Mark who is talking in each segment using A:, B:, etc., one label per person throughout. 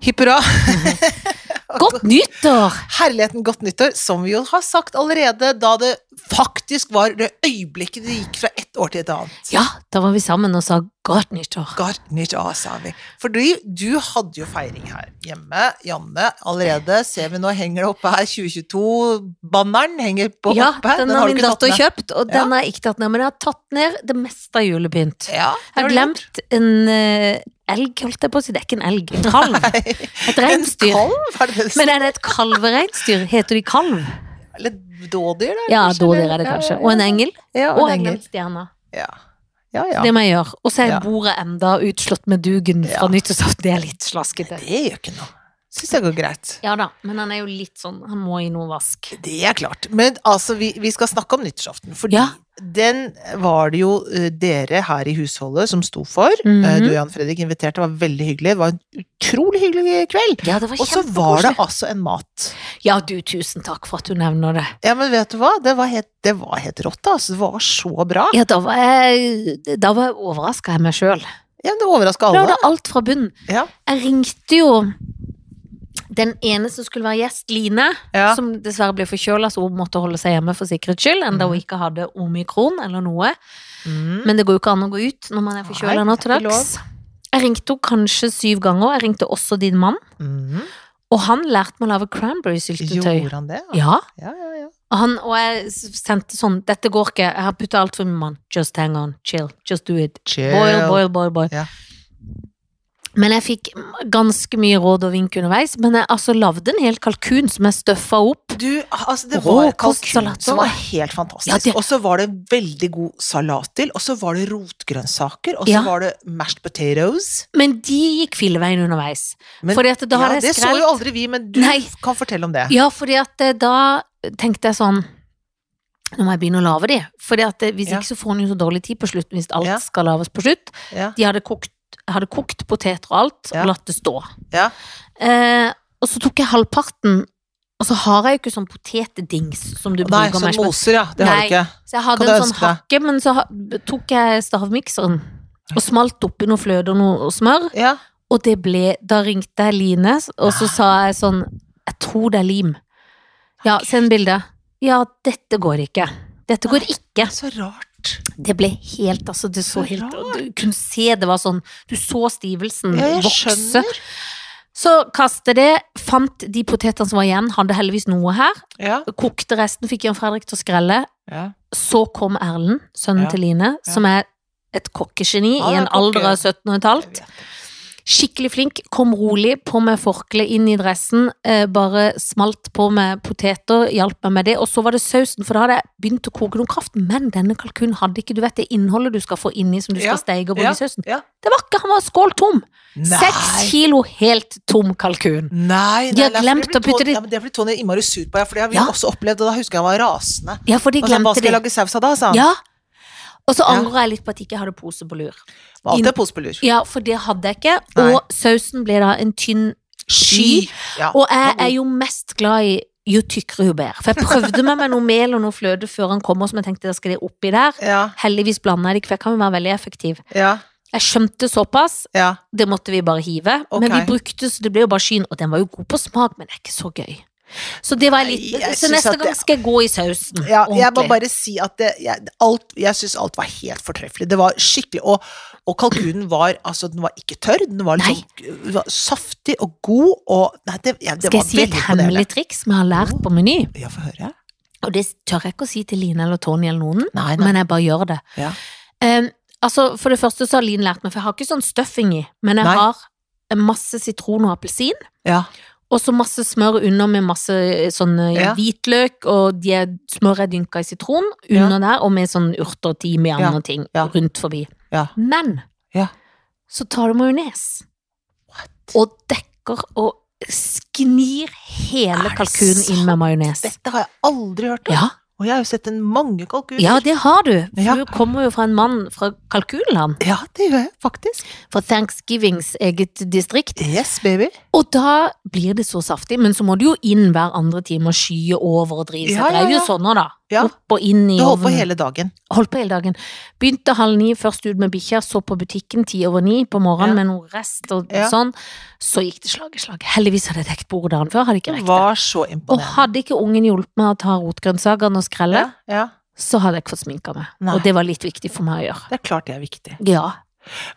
A: Hipp hurra.
B: Godt nyttår!
A: Herligheten godt nyttår, som vi jo har sagt allerede da det faktisk var det øyeblikket det gikk fra ett år til et annet.
B: Ja, da var vi sammen og sa godt nyttår.
A: Godt nyttår, sa vi. Fordi du hadde jo feiring her hjemme. Janne, allerede ser vi nå henger det oppe her. 2022-banneren henger på
B: Ja,
A: oppe.
B: den har
A: du
B: min
A: ikke tatt
B: datter
A: ned.
B: kjøpt, og
A: Ja.
B: den har jeg ikke tatt ned. Men jeg har tatt ned det meste av julepynt.
A: Ja, det
B: Jeg
A: har du
B: har
A: gjort.
B: glemt en eh, elg, holdt jeg på å si. Det er ikke en elg, en kalv. Et
A: En
B: reinsdyr.
A: kalv? Er det det du
B: Men er det et kalvereinsdyr? Heter de kalv?
A: sier? Eller dådyr, da?
B: Ja,
A: kanskje,
B: dådyr
A: eller-
B: er det
A: Ja,
B: kanskje.
A: ja,
B: Og en engel.
A: Ja,
B: Og
A: en
B: en
A: engel.
B: stjerne.
A: Ja, ja. ja.
B: Det må jeg gjøre. Og så er
A: Ja.
B: bordet enda utslått med dugen fra
A: Ja.
B: nyttårsaften. Det er litt slaskete.
A: Det gjør ikke noe. Syns jeg går greit.
B: Ja da, men han er jo litt sånn Han må i noe vask.
A: Det er klart. Men altså, vi, vi skal snakke om nyttårsaften, fordi
B: Ja.
A: den var det jo eh, dere her i husholdet som sto for.
B: Mhm.
A: Eh, Du og Jan Fredrik inviterte, det var veldig hyggelig. Det var en utrolig hyggelig kveld.
B: Ja, det var
A: Og så var det
B: kjempekoselig.
A: altså en mat.
B: Ja, du, tusen takk for at du nevner det.
A: Ja, men vet du hva? Det var helt, det var helt rått, altså. Det var så bra.
B: Ja, da var jeg, da var jeg overraska jeg meg sjøl.
A: Ja, men det overraska
B: Da var
A: alle.
B: det alt fra bunnen.
A: Ja.
B: Jeg ringte jo den ene som skulle være gjest, Line,
A: Ja.
B: som dessverre ble forkjøla, så hun måtte holde seg hjemme for sikkerhets skyld, enda
A: Mhm.
B: hun ikke hadde omikron eller noe.
A: Mm.
B: Men det går jo ikke an å gå ut når man er
A: Nei,
B: forkjøla nå til
A: det er ikke
B: dags. Jeg ringte henne kanskje syv ganger. Jeg ringte også din mann,
A: Mm.
B: og han lærte meg å lage cranberry-syltetøy.
A: Gjorde han det? Ja, ja,
B: Ja,
A: ja. ja.
B: og han, og jeg s- sendte sånn Dette går ikke, jeg har putta alt for min mann. Just hang on, chill, just do it.
A: Chill.
B: Boil, boil, boil, boil.
A: Ja.
B: Men jeg fikk ganske mye råd og vink underveis. Men jeg altså lagde en hel kalkun som jeg støffa opp.
A: Du, altså det var
B: Rå
A: kalkun
B: kostsalat
A: som
B: også.
A: var helt fantastisk.
B: Ja, det-
A: Og så var det veldig god salat til, og så var det rotgrønnsaker, og så
B: Ja.
A: var det mashed potatoes.
B: Men de gikk filleveien underveis.
A: Men-
B: fordi at da
A: ja,
B: hadde
A: det
B: jeg
A: så jo
B: skrelt.
A: aldri vi, men du
B: Nei.
A: kan fortelle om det.
B: Ja, fordi at eh, da tenkte jeg sånn Nå må jeg begynne å lage de. Fordi at eh, hvis
A: Ja.
B: ikke så får en jo så dårlig tid på slutten hvis alt
A: Ja.
B: skal lages på slutt.
A: Ja.
B: De hadde kokt, hadde kokt poteter og alt,
A: Ja.
B: og latt det stå.
A: Ja.
B: Eh, og så tok jeg halvparten, og så har jeg jo ikke sånn potetdings som du
A: Nei,
B: bruker
A: sånn
B: mashed potato-
A: moser, ja. Det har
B: Nei.
A: du ikke.
B: Så jeg
A: Kan
B: hadde
A: du
B: en sånn
A: ønske deg?
B: hakke, men så ha- tok jeg stavmikseren og smalt oppi noe fløte og noe smør,
A: Ja.
B: og det ble Da ringte jeg Line, og så sa jeg sånn Jeg tror det er lim. Ja, send bilde. Ja, dette går ikke. Dette går ikke.
A: Så rart.
B: Det ble helt, altså det så
A: Så
B: helt
A: rart.
B: Du kunne se det var sånn Du så stivelsen
A: Ja, jeg
B: vokse.
A: skjønner.
B: Så kastet det, fant de potetene som var igjen, hadde heldigvis noe her.
A: Ja.
B: Kokte resten, fikk Jan Fredrik til å skrelle.
A: ja.
B: Så kom Erlend, sønnen
A: Ja.
B: til Line,
A: Ja.
B: som er et kokkegeni
A: Han
B: i
A: er
B: en
A: kokke.
B: alder av 17 og et
A: Jeg
B: halvt.
A: vet.
B: Skikkelig flink, kom rolig, på med forkle inn i dressen, eh, bare smalt på med poteter, hjalp meg med det, og så var det sausen, for da hadde jeg begynt å koke noe kraft, men denne kalkunen hadde ikke, du vet det innholdet du skal få inni som du
A: Ja,
B: skal steige og bruke
A: ja,
B: i sausen.
A: ja.
B: Det var ikke, han var skåltom. Seks
A: Nei.
B: kilo helt tom kalkun.
A: Nei, nei,
B: De har
A: nei, for
B: glemt
A: det blir
B: å
A: Tony-
B: putte det-
A: ja, men Det blir Tony innmari sur på, ja, for det har vi
B: Ja.
A: også opplevd, og da husker jeg han var rasende.
B: Ja, for de
A: Og så, hva
B: glemte
A: skal jeg
B: det.
A: lage saus av da, sa han.
B: Ja. Og så
A: Ja.
B: angrer jeg litt på at jeg ikke hadde pose på lur.
A: Var Alltid pose på lur.
B: Ja, for det hadde jeg ikke,
A: Nei.
B: og sausen ble da en tynn
A: Sky. Ja.
B: Og jeg
A: god.
B: er jo mest glad i jo tykkere, jo bedre. For jeg prøvde meg med noe mel og noe fløte før han kom, og som jeg tenkte da skal det oppi der.
A: Ja,
B: Heldigvis blanda jeg det, for jeg kan jo være veldig effektiv.
A: ja,
B: Jeg skjønte såpass,
A: ja.
B: det måtte vi bare hive.
A: Ok.
B: Men vi brukte, så det ble jo bare skyen, og den var jo god på smak, men det er ikke så gøy. Så det var litt
A: Nei, jeg
B: Så
A: synes
B: neste
A: at det-
B: gang skal jeg gå i sausen.
A: Ja, jeg må
B: ordentlig.
A: bare si at det, jeg, alt, jeg syns alt var helt fortreffelig. Det var skikkelig Og, og kalkunen var altså, den var ikke tørr, den var,
B: Nei.
A: liksom, den var saftig og god og Nei, det, ja, det
B: Skal
A: var
B: jeg si et
A: veldig
B: hemmelig
A: imponerende.
B: triks som jeg har lært på Meny?
A: Ja, få høre.
B: Og det tør jeg ikke å si til Line eller Tony eller noen,
A: Nei, nei.
B: men jeg bare gjør det.
A: Ja.
B: Em, altså, for det første så har Linn lært meg, for jeg har ikke sånn stuffing i, men jeg
A: Nei.
B: har masse sitron og appelsin,
A: Ja.
B: og så masse smør under med masse eh, sånn eh,
A: Ja.
B: hvitløk, og de er, smør er dynka i sitron
A: Ja.
B: under der, og med sånn urter og timian
A: Ja.
B: og ting
A: Ja.
B: rundt forbi.
A: Ja.
B: Men
A: Ja.
B: så tar du majones, og dekker og gnir hele
A: Er det
B: kalkunen inn med majones.
A: Dette har jeg aldri hørt om.
B: Ja,
A: Og jeg har jo sett en mange kalkuner.
B: Ja, det har du. For
A: Ja.
B: Du kommer jo fra en mann fra kalkunland.
A: Ja, det gjør jeg faktisk.
B: Fra Thanksgivings eget distrikt.
A: Yes, baby.
B: Og da blir det så saftig, men så må du jo inn hver andre time og skye over og drive. Så
A: Ja,
B: jeg
A: ja,
B: drev jo
A: ja.
B: sånn nå, da.
A: Ja.
B: Opp og inn i
A: Du holdt på
B: ovnen.
A: hele dagen.
B: Holdt på hele dagen. Begynte halv ni, først ut med bikkja, så på butikken ti over ni på morgenen
A: Ja.
B: med noe rest og
A: Ja.
B: sånn. Så gikk det slag i slag. Heldigvis hadde jeg dekt bordet dagen før, hadde jeg
A: Det
B: ikke rekt det.
A: var så
B: Og
A: imponerende.
B: hadde ikke ungen hjulpet meg å ta rotgrønnsakene og skrelle,
A: Ja, ja.
B: så hadde jeg ikke fått sminka meg.
A: Nei.
B: Og det var litt viktig for meg å gjøre.
A: Det er klart det er viktig.
B: Ja.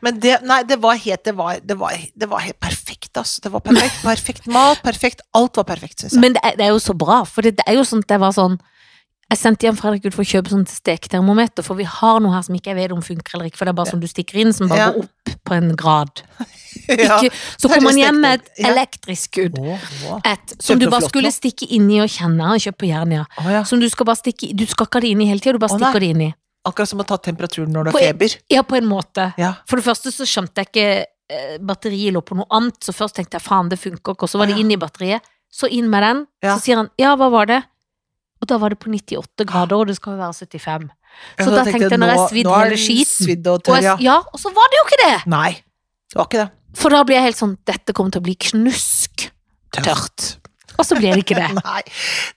A: Men det, nei, det var helt, det var, det var, det var helt perfekt, altså. Det var perfekt, perfekt mat, perfekt, alt var perfekt, synes jeg.
B: Men det er, det er jo så bra, for det, det er jo sånn at jeg var sånn Jeg sendte hjem Fredrik ut for å kjøpe sånn steketermometer, for vi har noe her som ikke jeg vet om funker eller ikke, for det er bare sånn du stikker inn, som bare
A: Ja.
B: går opp på en grad.
A: Ja.
B: Ikke, så
A: det er
B: kommer man hjem med
A: stekte.
B: et
A: Ja.
B: elektrisk skudd.
A: Å, å.
B: Et, som
A: Kjøpte
B: du bare
A: flott
B: skulle
A: nå.
B: stikke inn i og kjenne og kjøpe på Jernia.
A: Å, ja.
B: Som du skal bare stikke i- Du skal ikke ha det inn i hele tida, du
A: Å,
B: bare stikker det inn i.
A: Akkurat som å ta temperaturen når du
B: På-
A: har feber.
B: Ja, på en måte.
A: Ja.
B: For det første så skjønte jeg ikke eh, Batteriet lå på noe annet, så først tenkte jeg faen, det funker ikke, og så var det
A: Ja.
B: inn i batteriet. Så inn med den,
A: Ja.
B: så sier han ja, hva var det? Og da var det på 98 grader, og det skal jo være 75.
A: Ja,
B: Så da tenkte jeg, når jeg
A: nå-
B: svidd
A: nå er
B: hele
A: den
B: skiten.
A: Svidd og
B: Og
A: tørr, ja.
B: jeg, ja, og så var det jo ikke det!
A: Nei, det var ikke det.
B: For da blir jeg helt sånn Dette kommer til å bli knusk tørt. Og så blir det ikke det.
A: Nei,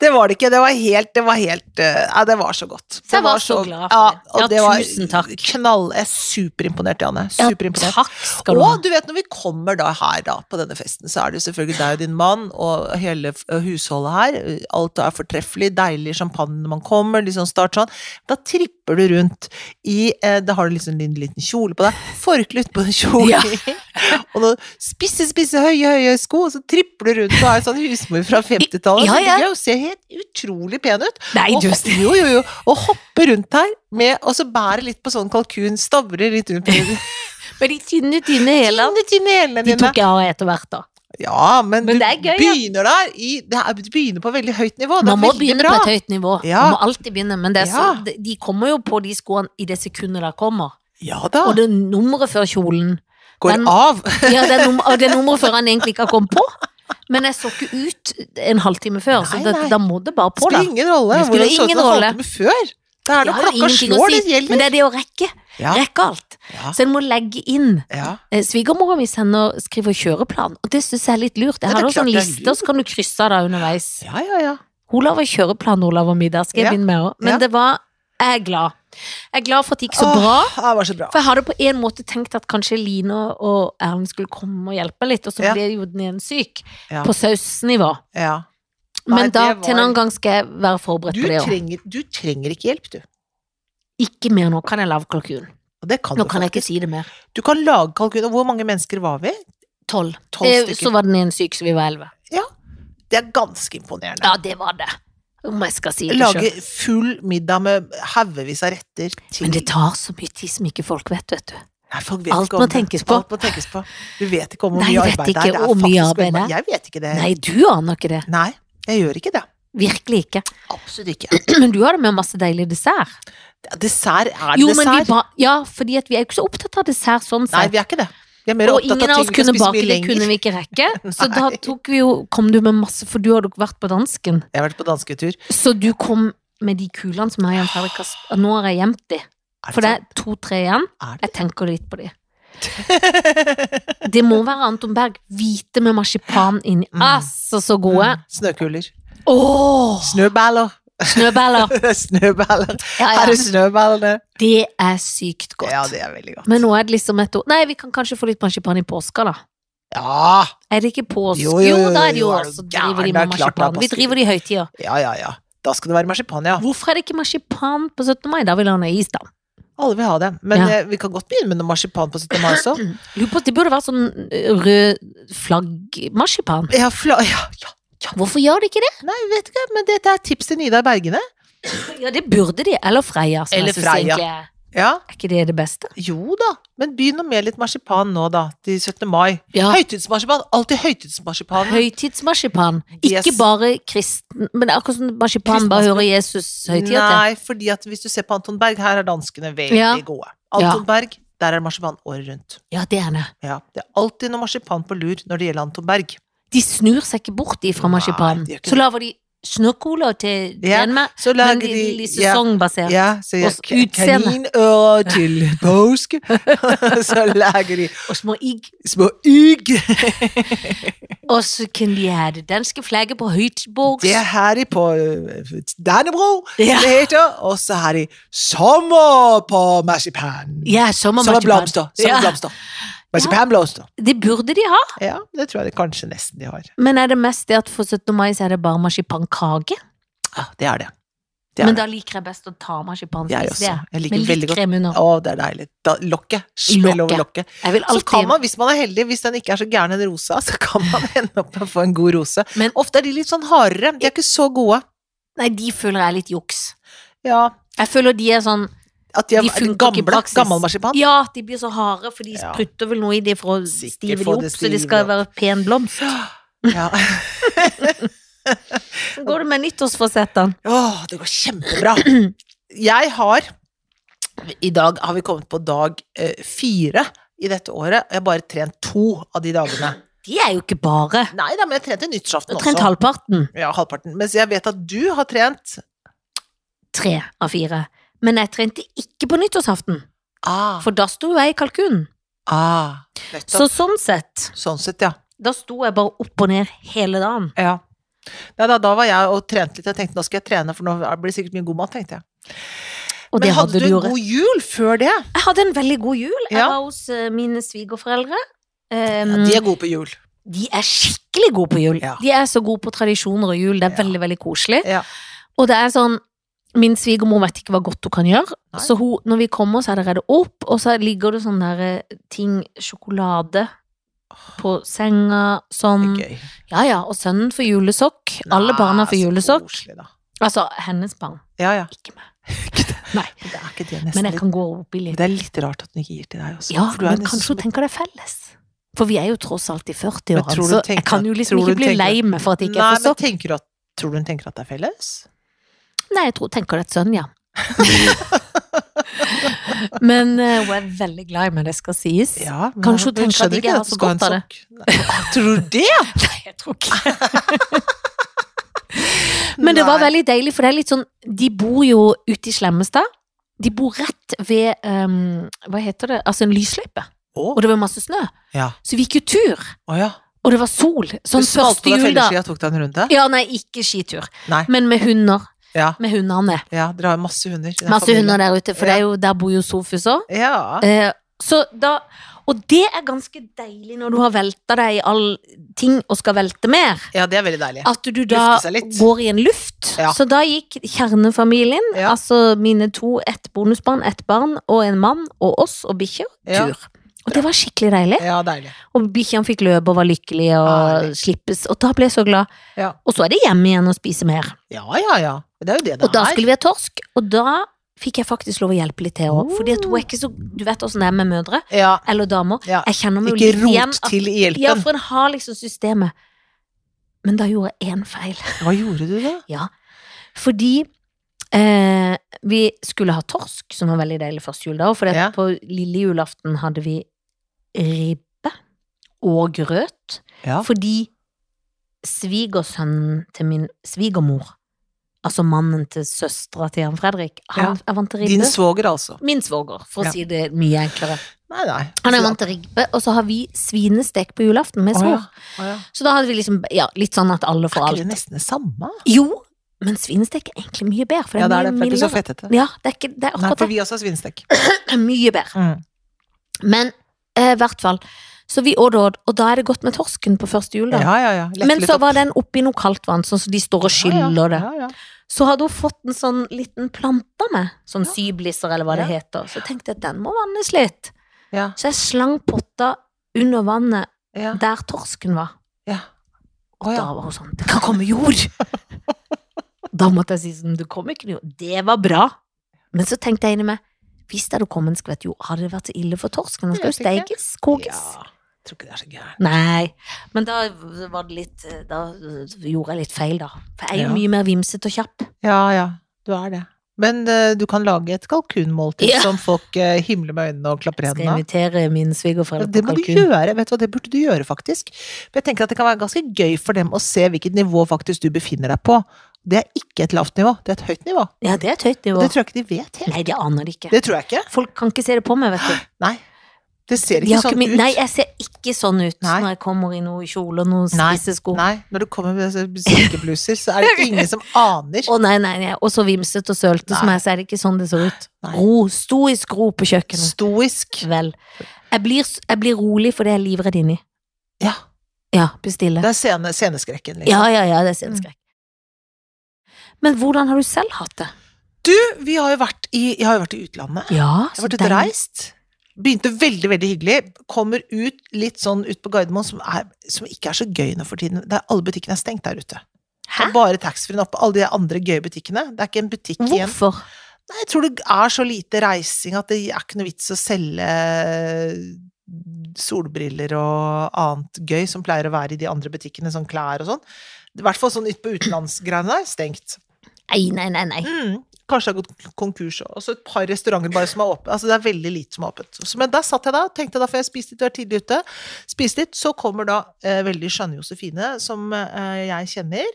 A: det var det ikke. Det var helt, det var helt eh, Nei, det var så godt.
B: Så jeg var så glad for det.
A: og
B: Ja,
A: var
B: tusen takk.
A: Knall, jeg er superimponert, Janne.
B: Ja,
A: Superimponert.
B: takk skal du ha.
A: og du vet, når vi kommer da her da, på denne festen, så er det jo selvfølgelig deg og din mann og hele f- husholdet her. Alt er fortreffelig, deilig champagne når man kommer, liksom start sånn. Da tripper du rundt i eh, Da har du liksom en liten kjole på deg, forkle utpå en kjole,
B: Ja.
A: og noen spisse, spisse, høye, høye sko, og så tripper du rundt og er sånn husmor fra 50-tallet.
B: Ja,
A: så
B: ja.
A: ligger jeg og ser helt utrolig pen ut.
B: Nei,
A: Og
B: du
A: hop- jo, jo, jo. Og hopper rundt her, med, og så bærer litt på sånn kalkun, stavrer litt rundt på
B: Men de tynne, tynne
A: Tynne,
B: hælene
A: tynne hælene
B: De
A: dine.
B: tok jeg av etter hvert, da.
A: Ja, men,
B: Men
A: du
B: det er gøy, ja.
A: begynner der i, det er, Du begynner på veldig høyt nivå. Det
B: Man
A: er
B: må
A: veldig
B: begynne
A: bra.
B: på et høyt nivå.
A: Ja.
B: Man må alltid begynne, men det er så,
A: Ja.
B: de- de kommer jo på de skoene i det sekundet de kommer.
A: Ja da.
B: Og det nummeret før kjolen
A: går
B: den-
A: av.
B: ja, det er num- Og det nummeret før han egentlig ikke har kommet på. Men jeg så ikke ut en halvtime før, så
A: Nei,
B: det,
A: nei.
B: da må det bare på, da.
A: Spiller ingen rolle.
B: Det spiller
A: hvordan så ut
B: ingen
A: som
B: rolle.
A: halvtime før. Det er
B: Det
A: når
B: har jo
A: klokka
B: ingenting å
A: slår,
B: si,
A: det gjelder.
B: Men det er det å rekke.
A: Ja,
B: Rekke alt.
A: Ja.
B: Så en må legge inn.
A: ja.
B: Eh, Svigermora mi sender skriver kjøreplan, og det syns jeg er litt lurt. Jeg
A: Ja, det
B: har
A: er
B: også
A: klart
B: en
A: det er
B: liste,
A: lurt.
B: og så kan du krysse av da underveis.
A: ja, ja, ja.
B: Olav har kjøreplan, Olav og middag, skal jeg
A: Ja.
B: begynne med også. Men
A: Ja.
B: det var, jeg er glad. Jeg er glad for at det gikk så
A: Åh,
B: bra.
A: Det var så bra.
B: For jeg hadde på en måte tenkt at kanskje Line og Erlend skulle komme og hjelpe litt, og så
A: Ja.
B: ble jo den ene syk.
A: Ja.
B: På sausnivå.
A: Ja. Nei,
B: Men da,
A: det var-
B: til en annen gang skal jeg være forberedt
A: Du,
B: på det òg.
A: trenger, du trenger ikke hjelp, du.
B: Ikke mer nå, kan jeg lage kalkun.
A: Og det kan
B: Nå
A: du
B: kan jeg ikke
A: faktisk.
B: si det mer.
A: Du kan lage kalkun. Og hvor mange mennesker var vi?
B: Tolv.
A: Tolv
B: Eh,
A: stykker.
B: Så var den ene syk, så vi var elleve.
A: Det er ganske imponerende.
B: Ja, det var det. Om jeg skal si det sjøl.
A: Lage full middag med haugevis av retter til
B: Men det tar så mye tid som ikke folk vet, vet du.
A: Nei, folk vet
B: Alt
A: ikke om
B: må
A: det.
B: tenkes på.
A: Alt må tenkes på. Du vet ikke om hvor
B: Nei,
A: mye
B: jeg vet
A: arbeid det
B: ikke
A: er. Det er
B: hvor mye
A: faktisk
B: arbeid det er.
A: Jeg vet ikke det. Nei.
B: Nei, du aner ikke det.
A: jeg gjør ikke det.
B: Virkelig ikke.
A: Absolutt ikke.
B: Men du hadde med masse deilig dessert.
A: Dessert er
B: Jo, men vi
A: dessert.
B: ba ja, fordi at vi er jo ikke så opptatt av dessert sånn
A: Nei,
B: sett.
A: vi er ikke det. Vi er mer
B: og
A: opptatt
B: ingen
A: av ting
B: av oss
A: vi kan
B: kunne
A: spise
B: bake,
A: mye
B: det kunne
A: lenger.
B: vi ikke rekke. Så da
A: Nei.
B: tok vi jo, kom du med masse, for du hadde jo vært på dansken.
A: Jeg har vært på dansketur.
B: Så du kom med de kulene som jeg og Jan Fredrik har sp- Nå har jeg gjemt de.
A: Er sånn?
B: For det er to-tre igjen.
A: Er
B: Jeg tenker litt på de.
A: det?
B: Det må være Anton Berg. Hvite med marsipan inni.
A: Mm.
B: Altså, så gode.
A: Snøkuler.
B: Åh,
A: Snøballer.
B: Snøballer.
A: snøballer.
B: Ja,
A: Her
B: ja.
A: er snøballene.
B: Det er sykt godt.
A: Ja, det er veldig godt.
B: Men nå er det liksom et år Nei, vi kan kanskje få litt marsipan i påska, da.
A: Ja,
B: Er det ikke påske? Jo,
A: Jo, jo, jo,
B: da er det jo
A: jo, er du
B: også driver de
A: gæren, det er
B: med
A: klart det er
B: marsipan. Vi
A: påske.
B: driver det i høytider.
A: ja, ja. ja. Da skal det være marsipan, ja.
B: Hvorfor er det ikke marsipan på 17. mai? Da vil han ha is, da.
A: Alle vil ha det. Men
B: Ja.
A: eh, vi kan godt begynne med noe marsipan på 17. mai også.
B: Lurer på, det burde vært sånn eh, rød flagg-marsipan.
A: Ja, fla ja, ja.
B: Hvorfor gjør de ikke det?
A: Nei, vet ikke, men dette er tips til Nidar Bergene.
B: Ja, det burde de. Eller Freia, som
A: Eller
B: jeg synes
A: Freia.
B: egentlig er
A: Ja,
B: Er ikke det det beste?
A: jo da. Men begynn nå med litt marsipan nå, da. Til 17. mai.
B: Ja.
A: Høytidsmarsipan. Alltid høytidsmarsipan.
B: Høytidsmarsipan.
A: Yes.
B: Ikke bare kristen Men det er akkurat som marsipan bare hører Jesus høytida til.
A: Nei, fordi at hvis du ser på Anton Berg, her er danskene veldig
B: Ja.
A: gode. Anton Berg, der er det marsipan året rundt.
B: Ja, det er det.
A: Ja, Det er alltid noe marsipan på lur når det gjelder Anton Berg.
B: De snur seg ikke bort ifra
A: Nei,
B: marsipanen.
A: de gjør ikke
B: Så lager de snorkoler til
A: Ja,
B: Danmark,
A: Så lager
B: men
A: de,
B: de, de, de
A: ja,
B: sesongbasert.
A: ja, så jeg,
B: Og utseende.
A: kaninører til påske. så lager de
B: Og små igg.
A: små ygg.
B: Og så kan de ha det danske flagget på høytborgs.
A: Det har de på øh, Dannebro,
B: Ja.
A: det heter. Og så har de sommer på marsipan.
B: Ja, sommermarsipan.
A: Sommerblomster.
B: Ja.
A: sommerblomster. Marsipanblomster.
B: Det burde de ha.
A: Ja, det tror jeg det kanskje nesten de har.
B: Men er det mest det at for 17. mai så er det bare marsipankake?
A: Ja, det er det. Det er det.
B: Men da liker jeg best å ta marsipan.
A: Jeg
B: spise
A: også.
B: det.
A: Jeg liker
B: Med
A: det veldig
B: litt
A: godt.
B: krem under.
A: Å, det er deilig. Da, lokket. Smell over lokket.
B: Jeg vil
A: Så kan
B: alltid
A: man, hvis man er heldig, hvis den ikke er så gæren en rosa, så kan man ende opp med å få en god rose.
B: Men-
A: ofte er de litt sånn hardere. De er ikke så gode.
B: Nei, de føler jeg er litt juks.
A: Ja,
B: Jeg føler de er sånn
A: at de er
B: De funker ikke i
A: gamle.
B: praksis.
A: Gammel marsipan.
B: Ja, de blir så harde, for de
A: Ja.
B: sprutter vel noe i det for å
A: Sikkert
B: stive de
A: få
B: opp,
A: det
B: så det
A: stive
B: skal
A: opp.
B: være pen blomst.
A: Ja.
B: Så går det med nyttårsforsettene.
A: Åh, det går kjempebra. Jeg har I dag har vi kommet på dag eh, fire i dette året. Jeg har bare trent to av de dagene.
B: De er jo ikke bare.
A: Nei da, men jeg trente nyttårsaften
B: Du har
A: også.
B: trent halvparten.
A: Ja, halvparten. Mens jeg vet at du har trent
B: Tre av fire. Men jeg trente ikke på nyttårsaften,
A: Ah,
B: for da sto jeg i kalkunen.
A: ah
B: Så
A: nettopp.
B: sånn sett,
A: Sånn sett, ja.
B: da sto jeg bare opp og ned hele dagen.
A: ja. Nei, da, da var jeg og trente litt. Jeg tenkte nå skal jeg trene, for nå blir det sikkert mye god mat, tenkte jeg.
B: Og
A: Men
B: det hadde du
A: en
B: jo rett.
A: god jul før det?
B: Jeg hadde en veldig god jul. Jeg
A: Ja.
B: var hos eh, mine svigerforeldre.
A: Ja,
B: Ehm,
A: de
B: de,
A: er gode på jul.
B: er skikkelig gode på jul.
A: Ja.
B: De er så gode på tradisjoner og jul. Det er
A: Ja.
B: veldig, veldig koselig.
A: Ja.
B: Og det er sånn Min svigermor vet ikke hva godt hun kan gjøre,
A: Nei.
B: så hun, når vi kommer, så er det reddet opp, og så ligger det sånne der eh, ting, sjokolade, på senga, sånn.
A: Det er gøy.
B: Ja, ja, og sønnen får julesokk. Alle
A: Nei,
B: barna får
A: så
B: julesokk.
A: koselig, da.
B: Altså, hennes barn,
A: Ja, ja.
B: ikke meg.
A: Det er ikke det nesten
B: Men
A: litt
B: jeg kan gå opp i litt.
A: Men Det er litt rart at hun ikke gir til deg også.
B: Ja,
A: for du er
B: men
A: nesten
B: kanskje
A: som
B: hun tenker det er felles. For vi er jo tross alt i 40-årene,
A: Men tror du
B: så
A: tenker
B: jeg kan jo
A: at-
B: liksom
A: tror du
B: ikke bli
A: tenker-
B: lei meg for at jeg
A: Nei,
B: ikke er for
A: men
B: sopp.
A: tenker du at, tror du hun tenker at det er felles?
B: Nei, jeg tror, tenker det er et sønn, ja. men eh, hun er veldig glad i meg, det skal sies.
A: Ja, men
B: Kanskje hun tenker at
A: skjønner
B: ikke jeg har
A: du
B: så
A: skal ha
B: godt
A: en
B: av
A: sokk? Nei, Tror du det?
B: Nei, jeg tror ikke Men det var
A: Nei.
B: veldig deilig, for det er litt sånn De bor jo ute i Slemmestad. De bor rett ved ehm, Hva heter det? Altså en lysløype.
A: Å,
B: Og det var masse snø.
A: ja.
B: Så vi gikk jo tur.
A: Å, ja.
B: Og det var sol. Sånn
A: du smalt på
B: første
A: deg
B: jul, da.
A: felleskia og tok deg en runde?
B: Ja, nei, ikke skitur.
A: Nei.
B: Men med hunder.
A: Ja.
B: Med hundene.
A: ja, dere har masse hunder. i den
B: Masse
A: familien.
B: hunder der ute, for det er jo, der bor jo Sofus òg.
A: Ja.
B: Eh, så da Og det er ganske deilig når du har velta deg i all ting og skal velte mer.
A: ja, det er veldig deilig.
B: At du da
A: Lufte seg litt.
B: går i en luft.
A: Ja.
B: Så da gikk kjernefamilien,
A: Ja.
B: altså mine to, ett bonusbarn, ett barn og en mann, og oss og bikkjer,
A: Ja.
B: tur. Og det var skikkelig deilig.
A: Ja, Ah, deilig.
B: Og bikkjene fikk løpe og var lykkelige og
A: Herlig.
B: slippes. Og da ble jeg så glad.
A: Ja.
B: Og så er det hjem igjen og spise mer.
A: Ja, ja, ja. Det er jo det det
B: Og da
A: er.
B: skulle vi ha torsk, og da fikk jeg faktisk lov å hjelpe litt til òg.
A: Oh.
B: Fordi at hun er ikke så Du vet åssen det er med mødre,
A: Ja,
B: eller damer.
A: ja.
B: Jeg kjenner meg jo
A: Ikke
B: litt igjen.
A: rot
B: at-
A: til i hjelpen.
B: Ja, for en har liksom systemet. Men da gjorde jeg én feil.
A: Hva gjorde du da?
B: Fordi eh, vi skulle ha torsk, som var veldig deilig første jul da òg. For
A: Ja.
B: på lille julaften hadde vi ribbe og grøt.
A: Ja.
B: Fordi svigersønnen til min svigermor, altså mannen til søstera til Jan Fredrik, han er vant til ribbe.
A: Din svoger, altså.
B: Min svoger, for å
A: Ja.
B: si det mye enklere.
A: Nei, nei.
B: Han er vant til ribbe, og så har vi svinestek på julaften med
A: Å, ja.
B: svor.
A: Å, ja.
B: Så da hadde vi liksom ja, litt sånn at alle får
A: Er ikke
B: alt.
A: det nesten det samme?
B: Jo, men svinestek er egentlig mye bedre, for det
A: Ja,
B: er
A: det er det,
B: mye
A: for det er ikke så
B: mildere.
A: fettete.
B: Ja, det er, ikke, det er
A: Nei,
B: akkurat
A: for
B: det.
A: vi også har svinestek.
B: Det er Mye bedre.
A: Mm.
B: Men eh, i hvert fall. Så vi åt og åt, og da er det godt med torsken på første jul,
A: Ja,
B: da.
A: ja, ja. Lette
B: Men
A: litt
B: så
A: opp.
B: var den oppi noe kaldt vann, sånn så de står og skyller det.
A: Ja, ja, ja.
B: Så hadde hun fått en sånn liten plante med, sånn
A: Ja.
B: syblisser eller hva det
A: Ja.
B: heter. Så tenkte jeg at den må vannes litt.
A: Ja,
B: Så jeg slang potta under vannet
A: ja,
B: der torsken var.
A: ja.
B: Og
A: Å, ja.
B: da var hun sånn Det kan komme jord! da måtte jeg si sånn Det kom ikke noe jord. Det var bra. Men så tenkte jeg inni meg Hvis det hadde kommet en skvett jord, hadde det vært så ille for torsken? Den skal jo
A: Det vet jeg
B: steikes, kokes.
A: Ja, jeg tror ikke det er så gærent.
B: Nei. Men da var det litt Da gjorde jeg litt feil, da. For jeg er jo
A: Ja.
B: mye mer vimsete og kjapp.
A: Ja, ja, du er det. Men eh, du kan lage et kalkunmåltid
B: Ja.
A: som folk eh, himler med øynene og klapper
B: Jeg skal
A: hendene av.
B: invitere mine
A: Ja,
B: svigerforeldre
A: Det
B: på
A: må du
B: kalkun.
A: gjøre, vet du hva, det burde du gjøre faktisk. For jeg tenker at det kan være ganske gøy for dem å se hvilket nivå faktisk du befinner deg på. Det er ikke et lavt nivå, det er et høyt nivå.
B: Ja, det er et høyt nivå.
A: Det tror jeg ikke de vet helt.
B: Nei, det aner de ikke.
A: Det tror jeg ikke.
B: Folk kan ikke se det på meg, vet du.
A: Nei. Det ser
B: De
A: ikke
B: har
A: sånn
B: ikke min-
A: ut.
B: Nei, jeg ser ikke sånn ut
A: Nei.
B: når jeg kommer i noe kjole og noen
A: Nei,
B: spissesko.
A: Nei, når du kommer med disse silkebluser, så er det ingen som aner.
B: Å nei, nei, nei. Og så vimsete og sølete som
A: Nei.
B: jeg, så er det ikke sånn det ser ut.
A: Nei.
B: Ro. Stoisk ro på kjøkkenet.
A: Stoisk.
B: Vel. Jeg blir, s- jeg blir rolig fordi jeg er livredd inni.
A: Ja.
B: Ja, bestille.
A: Det er scene, sceneskrekken, liksom.
B: Ja, ja, ja, det er sceneskrekk. Men hvordan har du selv hatt det?
A: Du, vi har jo vært i, jeg har jo vært i utlandet.
B: Ja,
A: Jeg har vært ute og reist. Begynte veldig, veldig hyggelig. Kommer ut litt sånn ut på Gardermoen, som, er, som ikke er så gøy nå for tiden. Det er, alle butikkene er stengt der ute.
B: Hæ?
A: Det er Bare taxfree-en oppe. Alle de andre gøye butikkene. Det er ikke en butikk igjen.
B: Hvorfor?
A: Nei, jeg tror det er så lite reising at det er ikke noe vits å selge eh, solbriller og annet gøy som pleier å være i de andre butikkene, sånn klær og sånn. I hvert fall sånn ut på utenlandsgreiene der, stengt.
B: Nei, nei, nei, nei.
A: Mm. Kanskje det har gått konkurs òg. Og så et par restauranter bare som er åpne. Altså det er veldig lite som er åpent. Så, men der satt jeg da, tenkte da, for jeg spiste litt, var tidlig ute. Spiste litt. Så kommer da eh, veldig skjønne Josefine, som eh, jeg kjenner,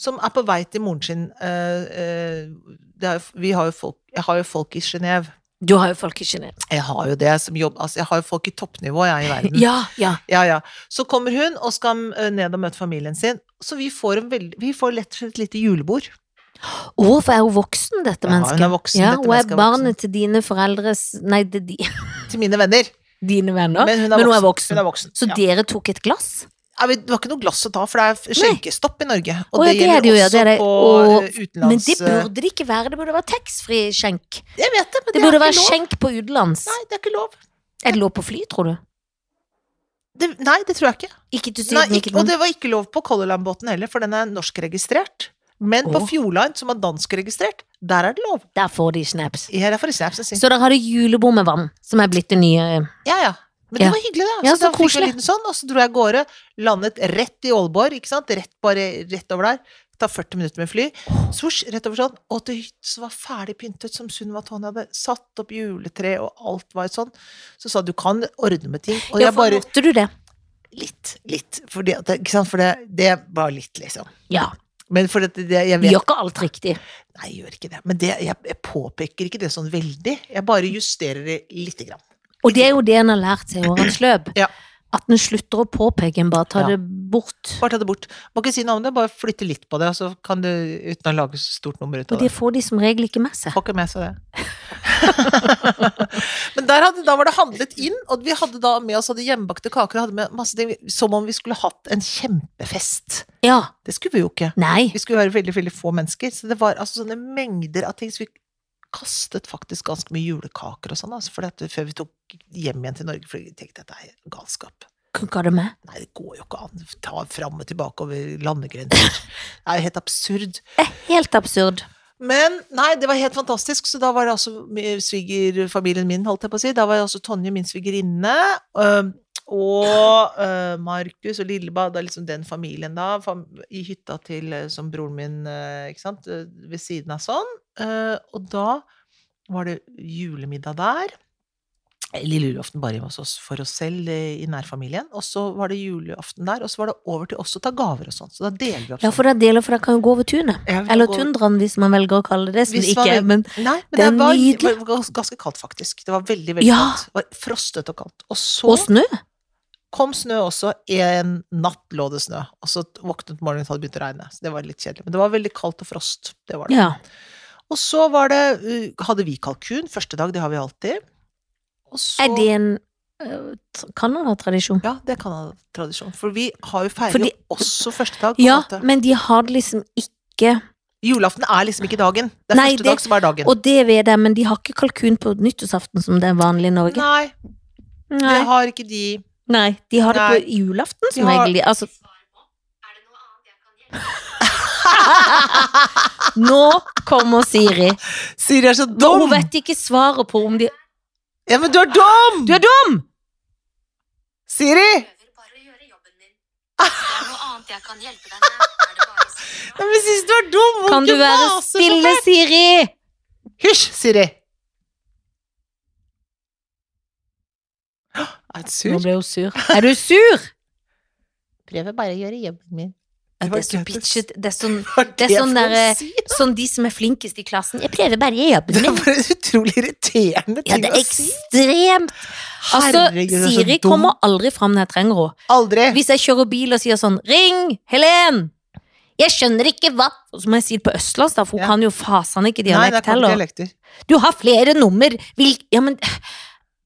A: som er på vei til moren sin. Eh, eh, det er, jo- vi har jo folk, jeg har jo folk i Genéve.
B: Du har jo folk i Genève.
A: Jeg har jo det som jobb, altså jeg har jo folk i toppnivå, jeg, i verden.
B: Ja, ja.
A: Ja, ja. Så kommer hun og skal eh, ned og møte familien sin. Så vi får, en veld, vi får lett og slett et lite julebord.
B: Å, for er hun voksen, dette
A: Ja, hun er
B: mennesket?
A: voksen,
B: Ja,
A: dette
B: hun
A: mennesket
B: er
A: er
B: barnet til dine foreldres Nei, det er di,
A: Til mine venner.
B: dine venner.
A: Men hun er
B: Men hun er
A: voksen. Hun er voksen.
B: så
A: ja.
B: dere tok et glass?
A: Ja, men det var ikke noe glass å ta, for det er skjenkestopp i Norge. Og
B: Å, ja,
A: det
B: det er
A: gjelder
B: det jo, ja,
A: også
B: det er det.
A: på
B: Og-
A: eh, utenlands...
B: Men det burde det ikke være. Det burde være taxfree skjenk.
A: eh, Jeg vet det, men
B: Det
A: det, er
B: burde
A: ikke
B: være
A: lov.
B: skjenk på utenlands.
A: Nei, det er ikke lov.
B: Er det lov på fly, tror du?
A: Det, nei, det tror jeg ikke.
B: Ikke til
A: Nei,
B: Syden, ikke
A: ikke. Og
B: til
A: det var ikke lov på Color Line-båten heller, for den er norskregistrert. Men på
B: Åh.
A: Fjord Line, som er danskregistrert, der er det lov.
B: Der får de snaps.
A: Her er for eksempel, så
B: Så der har du julebord med vann, som er blitt det nye
A: Ja, ja. Men det
B: Ja.
A: var hyggelig, da.
B: Ja,
A: så
B: så
A: da fikk jeg
B: koselig.
A: en liten sånn, og så dro jeg av gårde. Landet rett i Aalborg, ikke sant. Rett, bare, rett over der. Ta 40 minutter med fly. Svosj, rett over sånn. Og til hytta som var ferdig pyntet, som Sunniva Tonje hadde satt opp juletre, og alt var sånn. Så sa du kan ordne med ting. Og
B: Ja,
A: jeg
B: for
A: bare
B: måtte du det?
A: Litt, litt. For det, at- ikke sant? For det, det var litt, liksom.
B: Ja.
A: Men for det, det jeg
B: Vi
A: vet
B: gjør ikke alt riktig.
A: Nei, jeg gjør ikke det. Men det, jeg, jeg påpeker ikke det sånn veldig. Jeg bare justerer det lite grann.
B: Og det er jo det en har lært seg i årens løp.
A: Ja.
B: At en slutter å påpeke, en bare tar
A: Ja.
B: det bort.
A: Bare ta det bort. Må ikke si noe om det, bare flytte litt på det, og så kan du, uten å lage så stort nummer ut
B: Og
A: av det.
B: det får de som regel ikke med seg.
A: Får ikke med seg det. Men der hadde, da var det handlet inn, og vi hadde da med oss hadde hjemmebakte kaker og hadde med masse ting, som om vi skulle hatt en kjempefest.
B: Ja.
A: Det skulle vi jo ikke.
B: Nei.
A: Vi skulle være veldig, veldig få mennesker, så det var altså sånne mengder av ting. Så vi kastet faktisk ganske mye julekaker og sånn, altså, fordi at, før vi tok hjem igjen til Norge, for vi tenkte at det er galskap.
B: Kan ikke ha det med.
A: Nei, det går jo ikke an. Ta fram og tilbake over landegrenser. Det er jo helt absurd.
B: Eh, Helt absurd.
A: Men nei, det var helt fantastisk, så da var det altså med svigerfamilien min, holdt jeg på å si. Da var det altså Tonje, min svigerinne, øhm, og øh, Markus og Lilleba, da liksom den familien da, fam i hytta til øh, som broren min, øh, ikke sant, øh, ved siden av sånn. Øh, og da var det julemiddag der. Lille julaften bare hos oss for oss selv eh, i nærfamilien. Og så var det julaften der, og så var det over til oss å ta gaver og sånn. Så da deler vi opp.
B: Ja, for det er deler, for det kan jo gå over tunet.
A: Ja, vi kan
B: Eller
A: gå-
B: tundraen, hvis man velger å kalle det det. Som
A: Hvis
B: det
A: man
B: ikke er,
A: velger-
B: men
A: Nei, men
B: Det
A: det,
B: er
A: var,
B: nydelig.
A: var gans- ganske kaldt, faktisk. Det var veldig, veldig
B: Ja.
A: kaldt. Det var frostet og kaldt. Og så
B: Og snø.
A: kom snø også. En natt lå det snø, og så våknet morgenen og hadde begynt å regne. Så det var litt kjedelig. Men det var veldig kaldt og frost. Det var det.
B: Ja.
A: Og så var det uh, Hadde vi kalkun første dag? Det har vi alltid. Og så
B: Er det en øh, t- Canada-tradisjon?
A: Ja, det kan ha tradisjon. For vi har jo feiret
B: Fordi-
A: også første dag. på en
B: Ja,
A: måte.
B: men de har det liksom ikke
A: Julaften er liksom ikke dagen. Det er
B: Nei,
A: første
B: det-
A: dag som er dagen.
B: Og det vet jeg, men de har ikke kalkun på nyttårsaften som det er vanlig i Norge.
A: Nei, det
B: Nei,
A: har ikke de.
B: nei de har det
A: Nei.
B: på julaften som
A: De har-
B: regel. Altså, nå kommer Siri.
A: Siri er så
B: Hun
A: dum!
B: vet ikke svaret på om de
A: Ja, men du er dum!
B: Du er dum!
A: Siri!
C: prøver bare å gjøre jobben din. Det er noe annet jeg kan hjelpe deg med. Er det bare å si fra?
A: Ja, men synes du er dum! Hvor
B: Kan du være
A: maser så
B: stille,
A: fælt?
B: Siri?
A: Hysj, Siri! Er du sur?
B: Nå ble hun sur. Er du sur?
A: Prøver bare å gjøre jobben min.
B: Det er så bitchet. Det er sånn,
A: Hva var
B: det er sånn
A: for noe
B: derre-
A: å si?
B: sånn de som er flinkest i klassen. Jeg prøver bare å gjøre jobben
A: Det
B: min.
A: er bare en utrolig irriterende
B: Ja,
A: ting
B: det er
A: å si.
B: ekstremt. Altså,
A: Herregud, det er så
B: Siri
A: dum.
B: kommer aldri fram når jeg trenger henne.
A: Aldri.
B: Hvis jeg kjører bil og sier sånn Ring! Helen! Jeg skjønner ikke hva Og Så må jeg si det på østlands, da, for hun
A: Ja.
B: kan jo fasen ikke
A: Nei, det
B: dialekt
A: er
B: heller.
A: dialekter.
B: Du har flere nummer! Vil, ja, men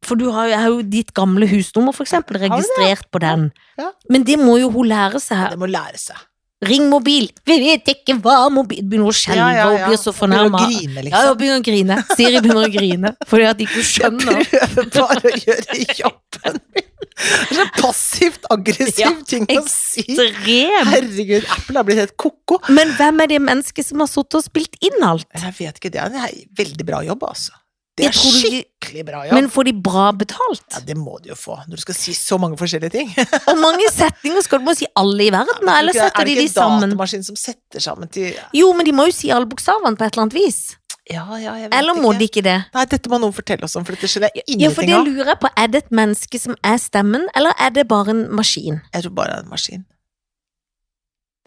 B: For du har jo, jeg har jo ditt gamle husnummer, for eksempel,
A: du det?
B: registrert på den.
A: Ja.
B: Men det må jo hun lære
A: Det
B: seg.
A: må lære seg.
B: Ring mobil! Vi vet ikke hva mobil Begynner hun å skjelve og blir så
A: Begynner
B: fornærma.
A: å grine,
B: Ja,
A: liksom.
B: hun begynner å grine. Siri begynner å grine fordi at de ikke
A: Jeg
B: skjønner.
A: prøver bare å gjøre jobben min. Det er så passivt aggressiv
B: Ja,
A: ting å si.
B: Ekstrem!
A: Herregud, Apple har blitt helt ko-ko.
B: Men hvem er det mennesket som har sittet og spilt inn alt?
A: Jeg vet ikke, det er en he- veldig bra jobb, altså. Det
B: Jeg
A: er
B: tror du-
A: skikkelig bra jobb.
B: Men får de bra betalt?
A: ja, det må du jo få, når du skal si så mange forskjellige ting.
B: Hvor mange setninger skal du må si alle i verden, da? Eller
A: er
B: setter
A: det ikke
B: de de sammen?
A: datamaskin som setter sammen til
B: Jo, men de må jo si alle bokstavene på et eller annet vis.
A: Ja, ja, jeg vet
B: Eller må
A: ikke.
B: de ikke det?
A: Nei, dette må noen fortelle oss om, for dette skjønner jeg
B: Ja, for
A: ingenting
B: det
A: av.
B: lurer jeg på. Er det et menneske som er stemmen, eller er det bare en maskin?
A: Jeg tror bare det er en maskin.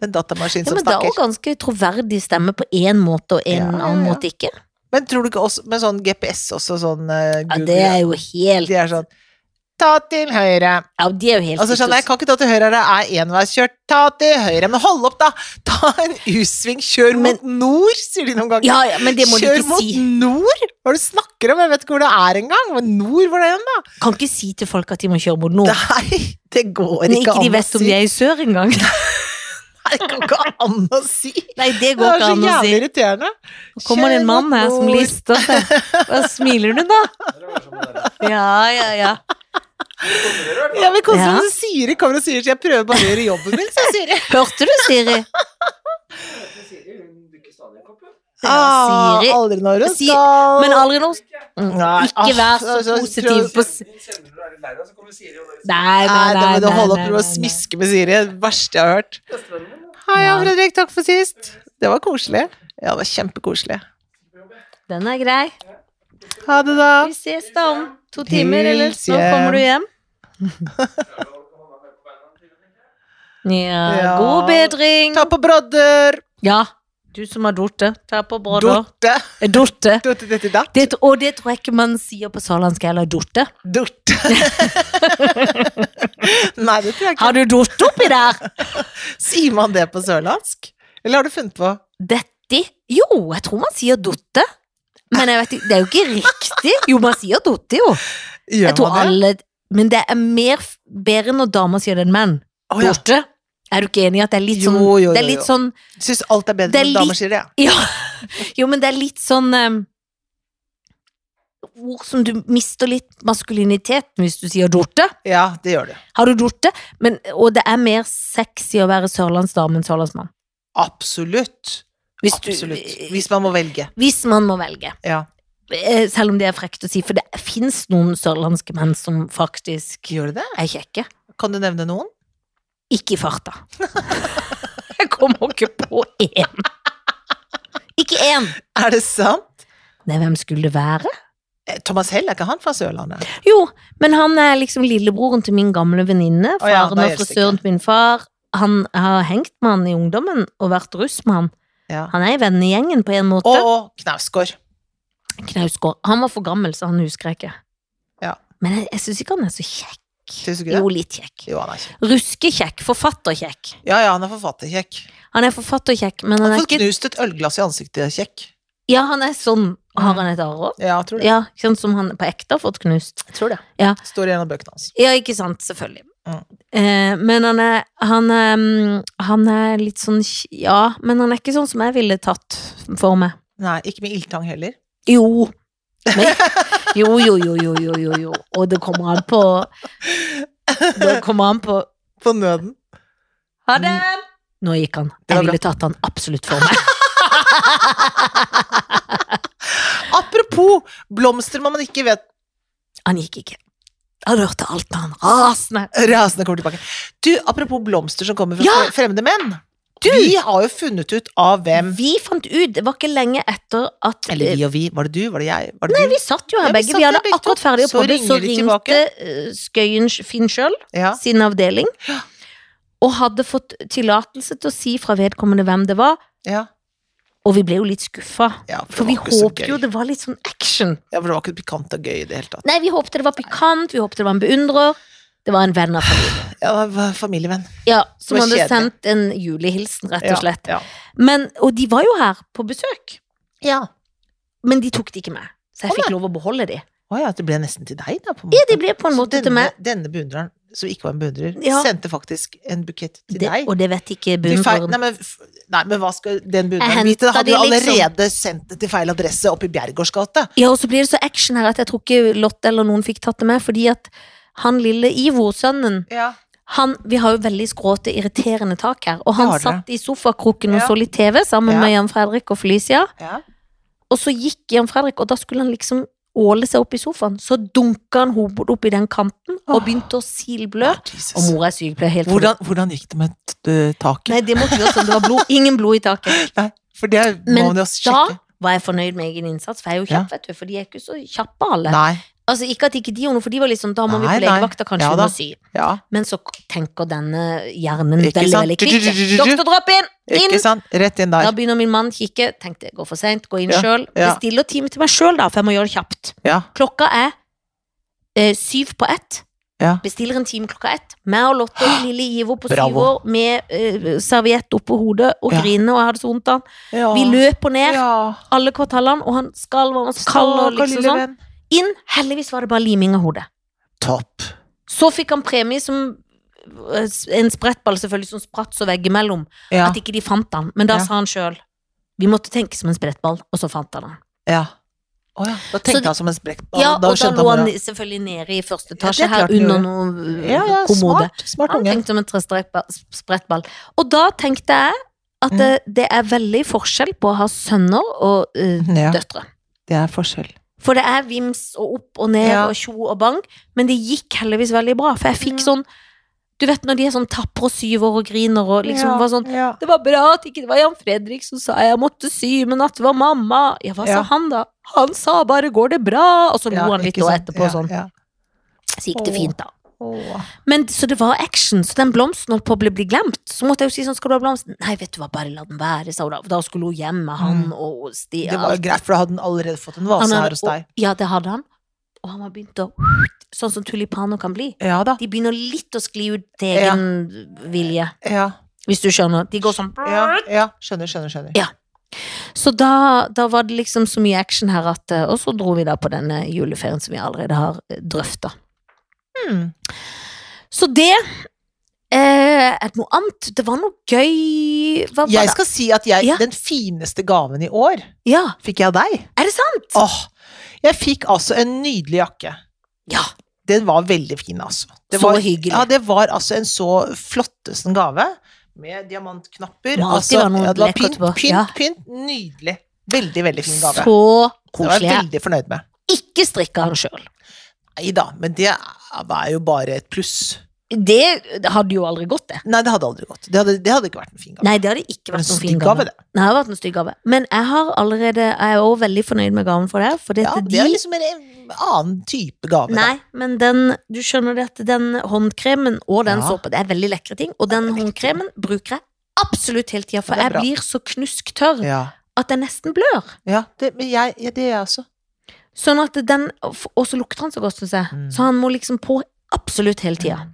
A: Det er en datamaskin
B: Ja,
A: som
B: men det er jo
A: snakker.
B: ganske troverdig stemme på én måte og en
A: Ja, ja,
B: annen
A: ja.
B: måte ikke.
A: Men tror du ikke også med sånn GPS også, sånn eh,
B: Ja,
A: Google
B: det er jo helt
A: De er sånn Ta til høyre.
B: Ja, de er jo helt
A: Altså,
B: ute
A: skjønner, jeg jeg kan ikke ta til høyre, det er enveiskjørt. Ta til høyre. Men hold opp, da! Ta en U-sving, kjør mot nord, sier de noen
B: og-
A: ganger.
B: Ja, ja, men det må de
A: Kjør
B: ikke
A: mot
B: si.
A: nord! Hva er det du snakker om? Jeg vet ikke hvor det er engang. Men Nord, hvor er det hen, da?
B: Kan ikke si til folk at de må kjøre mot nord.
A: Nei, det går
B: Men
A: ikke,
B: ikke de
A: an
B: vet
A: å
B: om
A: si.
B: de er i sør engang.
A: Nei, det går ikke an å si!
B: Nei, det
A: Det
B: går
A: er
B: ikke
A: så
B: an å
A: jævlig
B: si.
A: irriterende.
B: Nå kommer det en mann her som lister seg. Hva smiler du da? Ja, ja, ja.
A: Jeg vil
B: Ja.
A: konsentrere meg Siri kommer og sier så jeg prøver bare å gjøre jobben min, sier Siri.
B: Hørte du, Siri? Ja, Siri.
A: Aldri når hun
B: Si-
A: skal
B: Men aldri noe
A: Nei,
B: Ikke vær
A: aff,
B: så
A: altså,
B: positiv på s- Nei, nei,
A: Nei,
B: nei.
A: da må du
B: nei,
A: holde opp
B: nei,
A: med å
B: nei, nei.
A: smiske med Siri. Det verste jeg har hørt. Hei, ja,
B: Ja.
A: Fredrik. Takk for sist. Det var koselig. Ja, det var kjempekoselig.
B: Den er grei.
A: Ha det, da.
B: Vi ses da om to timer, eller
A: Hils
B: nå kommer du hjem.
A: Ja.
B: Ja, god bedring.
A: Ta på brodder.
B: Ja, du som har dorte. Ta på brødder.
A: Dorte.
B: Dorte.
A: Dorte, dette, datt.
B: Det, og det tror jeg ikke man sier på sørlandsk heller. Dorte.
A: Dorte. Nei, det tror jeg ikke.
B: Har du dorte oppi der?
A: Sier man det på sørlandsk? Eller har du funnet på?
B: Dette Jo, jeg tror man sier dotte. Men jeg vet ikke, det er jo ikke riktig. Jo, man sier dotte, jo.
A: Gjør
B: Jeg tror
A: man det?
B: alle Men det er mer f- bedre når damer sier det enn menn.
A: Å, ja.
B: Dotte. Er du ikke enig i at det er litt
A: Jo,
B: sånn
A: jo, jo,
B: Det er litt
A: jo.
B: sånn
A: Syns alt er bedre
B: Det er
A: når damer sier det, ja.
B: Ja. Jo, men det er litt sånn em, Ord som du mister litt maskulinitet hvis du sier dorte.
A: Ja, det gjør du.
B: Har du dorte? Men, og det er mer sexy å være sørlandsdame enn sørlandsmann.
A: Absolutt.
B: Hvis, du-
A: Absolutt. Hvis man må velge.
B: hvis man må velge.
A: Ja.
B: Eh, Selv om det er frekt å si, for det fins noen sørlandske menn som faktisk
A: Gjør du det?
B: er kjekke.
A: Kan du nevne noen?
B: Ikke i farta. Jeg kommer ikke på én. Ikke én!
A: Er det sant?
B: Nei, hvem skulle det være?
A: Eh, Thomas Hell, er ikke han fra Sørlandet?
B: Jo, men han er liksom lillebroren til min gamle venninne.
A: Å ja,
B: Faren
A: da
B: og
A: gjelder det
B: frisøren til min far. Han har hengt med han i ungdommen og vært russ med han.
A: Ja.
B: Han er i vennegjengen på en måte.
A: Og Knausgård.
B: Knausgård. Han var for gammel, så han husker jeg ikke.
A: Ja.
B: Men jeg, jeg syns ikke han er så kjekk.
A: Syns du ikke det?
B: Jo, litt kjekk.
A: Jo, han er kjekk.
B: Ruskekjekk. Forfatterkjekk.
A: Ja, ja, han er forfatterkjekk.
B: Han er forfatterkjekk, men
A: Han
B: han
A: har
B: er
A: fått
B: ikke
A: knust et ølglass i ansiktet, kjekk.
B: Ja, han er sånn. Har
A: Mm.
B: han et arr òg?
A: Ja, jeg tror det.
B: Ja, sånn som han på ekte har fått knust.
A: Jeg tror det.
B: Ja.
A: Står i en av bøkene hans.
B: Ja, ikke sant, selvfølgelig.
A: Mm.
B: Eh, men han er, han, er, mm, han er litt sånn kj- Ja, men han er ikke sånn som jeg ville tatt for meg.
A: Nei, ikke med ildtang heller.
B: Jo. Men, jo, jo, jo, jo, jo, jo, jo. Og det kommer an på Det kommer an på
A: På nøden.
B: Ha det! Nå gikk han.
A: Det var
B: Jeg ville tatt han absolutt for meg.
A: Apropos blomster man ikke vet
B: Han gikk ikke. Han hørte alt, han. Rasende.
A: Rasende kommer tilbake. Du, apropos blomster som kommer fra
B: Ja!
A: fremmede menn. Vi har jo funnet ut av hvem
B: Vi fant ut, det var ikke lenge etter at
A: Eller
B: eh,
A: vi og vi. Var det du? Var det jeg? Var det
B: Nei, vi satt jo
A: Ja,
B: her
A: vi
B: begge.
A: satt
B: Vi
A: her
B: hadde
A: begge to.
B: akkurat ferdig å
A: Så
B: podde, så
A: ringer de
B: ringte eh, Skøyen Finn sjøl
A: du? Ja.
B: sin avdeling og hadde fått tillatelse til å si fra vedkommende hvem det var,
A: ja.
B: og vi ble jo litt skuffa.
A: ja
B: For
A: det
B: vi
A: var ikke så
B: håpte
A: gøy.
B: jo det var litt sånn action.
A: Ja, for det var ikke pikant og gøy i det hele tatt.
B: Nei, vi håpte det var pikant, vi håpte det var en beundrer. Det var en venn av familien.
A: Ja, det var familievenn.
B: Ja, som
A: Det var
B: hadde
A: kjedelig.
B: sendt en julehilsen, rett og slett.
A: Ja.
B: Men, og de var jo her på besøk,
A: Ja.
B: men de tok de ikke med.
A: Å,
B: Så jeg fikk lov å beholde de.
A: Å ja, det ble nesten til deg, da, på en
B: Ja,
A: måte.
B: de ble på en
A: Så
B: måte til
A: denne,
B: meg.
A: Denne beundreren, som ikke var en beundrer,
B: Ja.
A: sendte faktisk en bukett til
B: Det,
A: deg.
B: og det vet ikke
A: Til feil,
B: beundreren.
A: nei, men, f- nei, men hva skal den
B: Jeg
A: beundreren vite? Da
B: hentet
A: Hadde jo
B: de liksom.
A: allerede sendt det til feil adresse oppe i Bjergårds gate.
B: Ja, og så blir det så action her at jeg tror ikke Lotte eller noen fikk tatt det med, fordi at han lille Ivo, sønnen,
A: Ja.
B: han, vi har jo veldig skråte, irriterende tak her, og
A: Det
B: han
A: har dere.
B: satt i sofakroken og
A: Ja.
B: så litt TV sammen
A: Ja.
B: med Jan Fredrik og Felicia,
A: Ja.
B: og så gikk Jan Fredrik, og da skulle han liksom åle seg opp i sofaen, så dunket han hodet opp i den kanten, og
A: Åh.
B: begynte å silblø,
A: Ah, Jesus.
B: og mor er sykepleier helt forbi.
A: Hvordan, hvordan gikk det med t- ø, taket?
B: Nei, det måtte vi også, det var blod, ingen blod i taket.
A: Nei, for det må
B: Men
A: man jo
B: Da
A: sjekke.
B: var jeg fornøyd med egen innsats, for jeg er jo kjapp, vet du, for de er ikke så kjappe alle.
A: Nei.
B: Altså Ikke at ikke de gjorde noe, for de var litt sånn Da må vi
A: Nei,
B: på legevakta,
A: nei.
B: kanskje
A: Ja
B: vi
A: da.
B: må sy.
A: Ja.
B: Men så k- tenker denne hjernen
A: Ikke
B: veldig,
A: sant?
B: veldig kvikt.
A: Du-du-du-du-du-du.
B: Doktor, dropp inn! Inn!
A: Ikke sant? Rett inn
B: Da
A: der.
B: begynner min mann kikke. Tenkte jeg går for seint, gå inn
A: Ja,
B: sjøl.
A: ja.
B: Bestiller time til meg sjøl, da, for jeg må gjøre det kjapt.
A: Ja.
B: Klokka er eh, syv på ett.
A: Ja.
B: Bestiller en time klokka ett. Meg og Lotte og lille Ivo på syv
A: Bravo.
B: år med eh, serviett oppå hodet og
A: Ja.
B: griner, og jeg hadde så vondt av han.
A: ja.
B: Vi løper ned
A: Ja.
B: alle kvartalene, og han skalv og han var så kald og
A: Stakkar
B: liksom
A: lille
B: sånn.
A: venn.
B: Inn. Heldigvis var det bare liming av hodet.
A: Topp.
B: Så fikk han premie som eh, en sprettball selvfølgelig som spratt så veggimellom.
A: Ja.
B: At ikke de fant han. Men da
A: Ja.
B: sa han sjøl vi måtte tenke som en sprettball, og så fant han han.
A: ja. Å ja. Da
B: Så de-
A: tenkte han som en sprekk.
B: Ja,
A: da
B: og da
A: skjønte
B: lå han
A: han
B: selvfølgelig nede i første
A: Ja, det
B: etasje
A: er
B: her
A: klart han
B: under
A: gjorde.
B: noe
A: hvordan-
B: eh,
A: ja, ja,
B: kommode.
A: smart, smart
B: Han
A: unge.
B: tenkte som en trestrekba- sprettball. Og da tenkte jeg at
A: Mm.
B: det, det er veldig forskjell på å ha sønner og eh,
A: Ja,
B: døtre.
A: det er forskjell.
B: For det er vims og opp og ned
A: Ja.
B: og tjo og bang, men det gikk heldigvis veldig bra. For jeg fikk
A: Ja.
B: sånn Du vet når de er sånn tapre og syv år og griner og liksom var sånn
A: ja.
B: Det var bra at ikke det var Jan Fredrik som sa jeg måtte sy, men at det var mamma. Ja, hva
A: Ja.
B: sa han da? Han sa bare 'går det bra', og så lo
A: Ja,
B: han litt
A: ikke
B: og
A: sant?
B: etterpå
A: ja,
B: sånn.
A: Ja.
B: Så gikk det
A: Åh.
B: fint, da.
A: Åh.
B: Men så det var action, så den blomsten holdt på å bli, bli glemt. Så måtte jeg jo si sånn 'skal du ha blomst?' Nei, vet du hva, bare la den være, sa hun da. For da skulle hun hjem med han
A: Mm.
B: og og Stia.
A: Det var jo greit, for da hadde han allerede fått en vase
B: Han hadde-
A: her hos deg.
B: og- Ja, det hadde han. Og han har begynt å Sånn som tulipaner kan bli.
A: Ja da.
B: De begynner litt å skli ut til egen vilje,
A: Ja,
B: hvis du skjønner. De går sånn
A: ja, ja. Skjønner, skjønner, skjønner.
B: Ja. Så da, da var det liksom så mye action her at eh, Og så dro vi da på denne juleferien som vi allerede har drøfta.
A: Hmm.
B: Så det eh, Er det noe annet? Det var noe gøy Hva var
A: Jeg
B: det?
A: skal si at jeg,
B: Ja.
A: den fineste gaven i år
B: Ja,
A: fikk jeg av deg.
B: er det sant?
A: Åh, jeg fikk altså en nydelig jakke.
B: Ja.
A: Den var veldig fin, altså. Det
B: Så
A: var,
B: hyggelig.
A: Ja, det var altså en så flottesen gave, med diamantknapper.
B: Må
A: altså,
B: alltid være noe
A: ja, det var
B: lekkert
A: pynt,
B: på,
A: pynt,
B: ja.
A: pynt. Nydelig. Veldig, veldig fin gave.
B: Så
A: det var jeg
B: koselig. Jeg
A: veldig fornøyd med.
B: ikke strikka han sjøl.
A: Nei da, men det er jo bare et pluss.
B: Det hadde jo aldri gått, det.
A: Nei, det hadde aldri gått. Det hadde, det hadde ikke vært en fin gave.
B: Nei, det hadde
A: det
B: ikke
A: var en
B: vært noen fin
A: stygg
B: gave.
A: gave, det.
B: Nei, det har vært en stygg gave. Men jeg har allerede Jeg er også veldig fornøyd med gaven for deg, for det
A: Ja,
B: at
A: det er
B: Altså, de
A: liksom en en annen type gave. da.
B: Nei, men den, du skjønner det at den håndkremen og den
A: Ja.
B: såpa, det er veldig lekre ting. Og den
A: veldig lekre ting.
B: håndkremen bruker jeg absolutt hele tida, for
A: det er
B: jeg
A: bra.
B: blir så knusktørr
A: Ja,
B: at jeg nesten blør.
A: ja det, men jeg, ja, det er altså jeg også.
B: Sånn at den, Og så lukter han så godt, syns jeg.
A: Mm.
B: Så han må liksom på absolutt hele tida.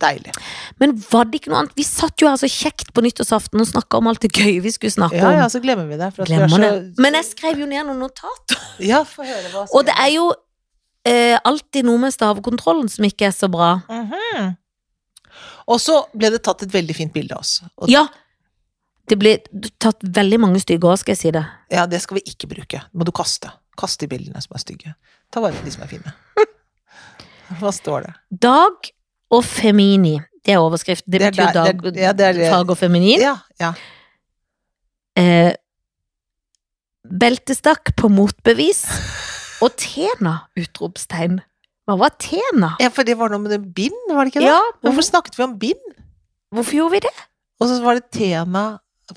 A: Deilig.
B: Men var det ikke noe annet? Vi satt jo her så kjekt på nyttårsaften og snakka om alt det gøy vi skulle snakke
A: Ja, ja,
B: om.
A: så glemmer vi det. For at vi er
B: Glemmer det.
A: så,
B: Men jeg skrev jo ned noen notater.
A: Ja, få høre hva
B: Og det er jo eh, alltid noe med stavekontrollen som ikke er så bra.
A: Mhm. Og så ble det tatt et veldig fint bilde av oss. Og
B: Ja. Det ble tatt veldig mange stygge år, skal jeg si det.
A: ja, det skal vi ikke bruke. Det må du kaste. Kaste de bildene som er stygge. Ta vare på de som er fine. Hva står det?
B: Dag og Femini. Det er overskrift. Det,
A: Det er der-
B: betyr dag,
A: det er- ja, det er det.
B: farge og feminin.
A: Ja, ja.
B: Eh, beltestakk på motbevis. Og Tena! Utropstegn. Hva var Tena?
A: ja, for det var noe med det bind, var det ikke det?
B: Ja, men
A: Hvorfor snakket vi om bind?
B: hvorfor gjorde vi det?
A: Og så var det tema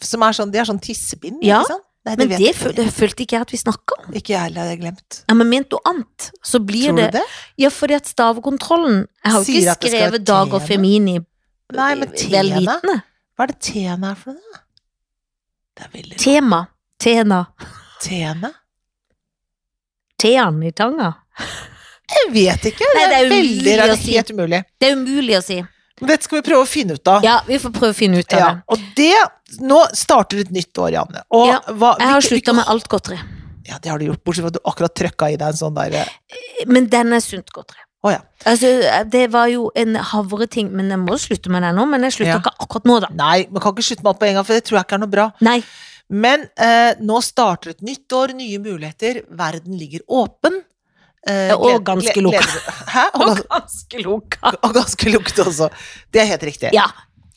A: som er sånn, De er sånn tissebind,
B: Ja,
A: ikke sant? Nei,
B: Men
A: vet
B: det
A: jeg
B: føl- det følte ikke jeg at vi snakka om.
A: ikke. Ikke jeg heller, det hadde jeg glemt.
B: Ja, men ment noe annet, så blir
A: Tror du
B: det,
A: det?
B: Ja, fordi at stavekontrollen Jeg har jo
A: Sier
B: ikke
A: at det skal være
B: skrevet Dag og
A: tene.
B: Femini
A: Nei, men
B: vel
A: T-ene?
B: vitende.
A: Hva er det T-ene er for noe, da? Det er veldig rart.
B: Tema. Tena.
A: T-ene?
B: Tean i tanga.
A: Jeg vet ikke. Det
B: Nei,
A: er,
B: det er
A: veldig
B: umulig
A: rart.
B: å
A: Det er
B: si.
A: helt umulig.
B: Det er umulig å si.
A: Men dette skal vi prøve å finne ut av.
B: Ja, vi får prøve å finne ut av
A: Ja,
B: det.
A: og det Nå starter et nytt år, Janne. Og
B: Ja,
A: hva,
B: Jeg har
A: hvilke-
B: slutta med alt godteri.
A: Ja, det har du gjort, bortsett fra at du akkurat trøkka i deg en sånn der
B: Men den er sunt godteri.
A: Å, ja.
B: Altså, det var jo en havreting, men jeg må jo slutte med den nå. Men jeg slutta
A: Ja.
B: ikke akkurat nå, da.
A: Nei, man kan ikke slutte med alt på en gang, for det tror jeg ikke er noe bra.
B: Nei.
A: Men eh, nå starter et nytt år, nye muligheter. Verden ligger åpen. Eh,
B: Ja,
A: gled-
B: og ganske
A: gled-
B: lukka.
A: gleder- Hæ? Og, gans-
B: ganske lukka.
A: og ganske lukket også. Det er helt riktig.
B: Ja.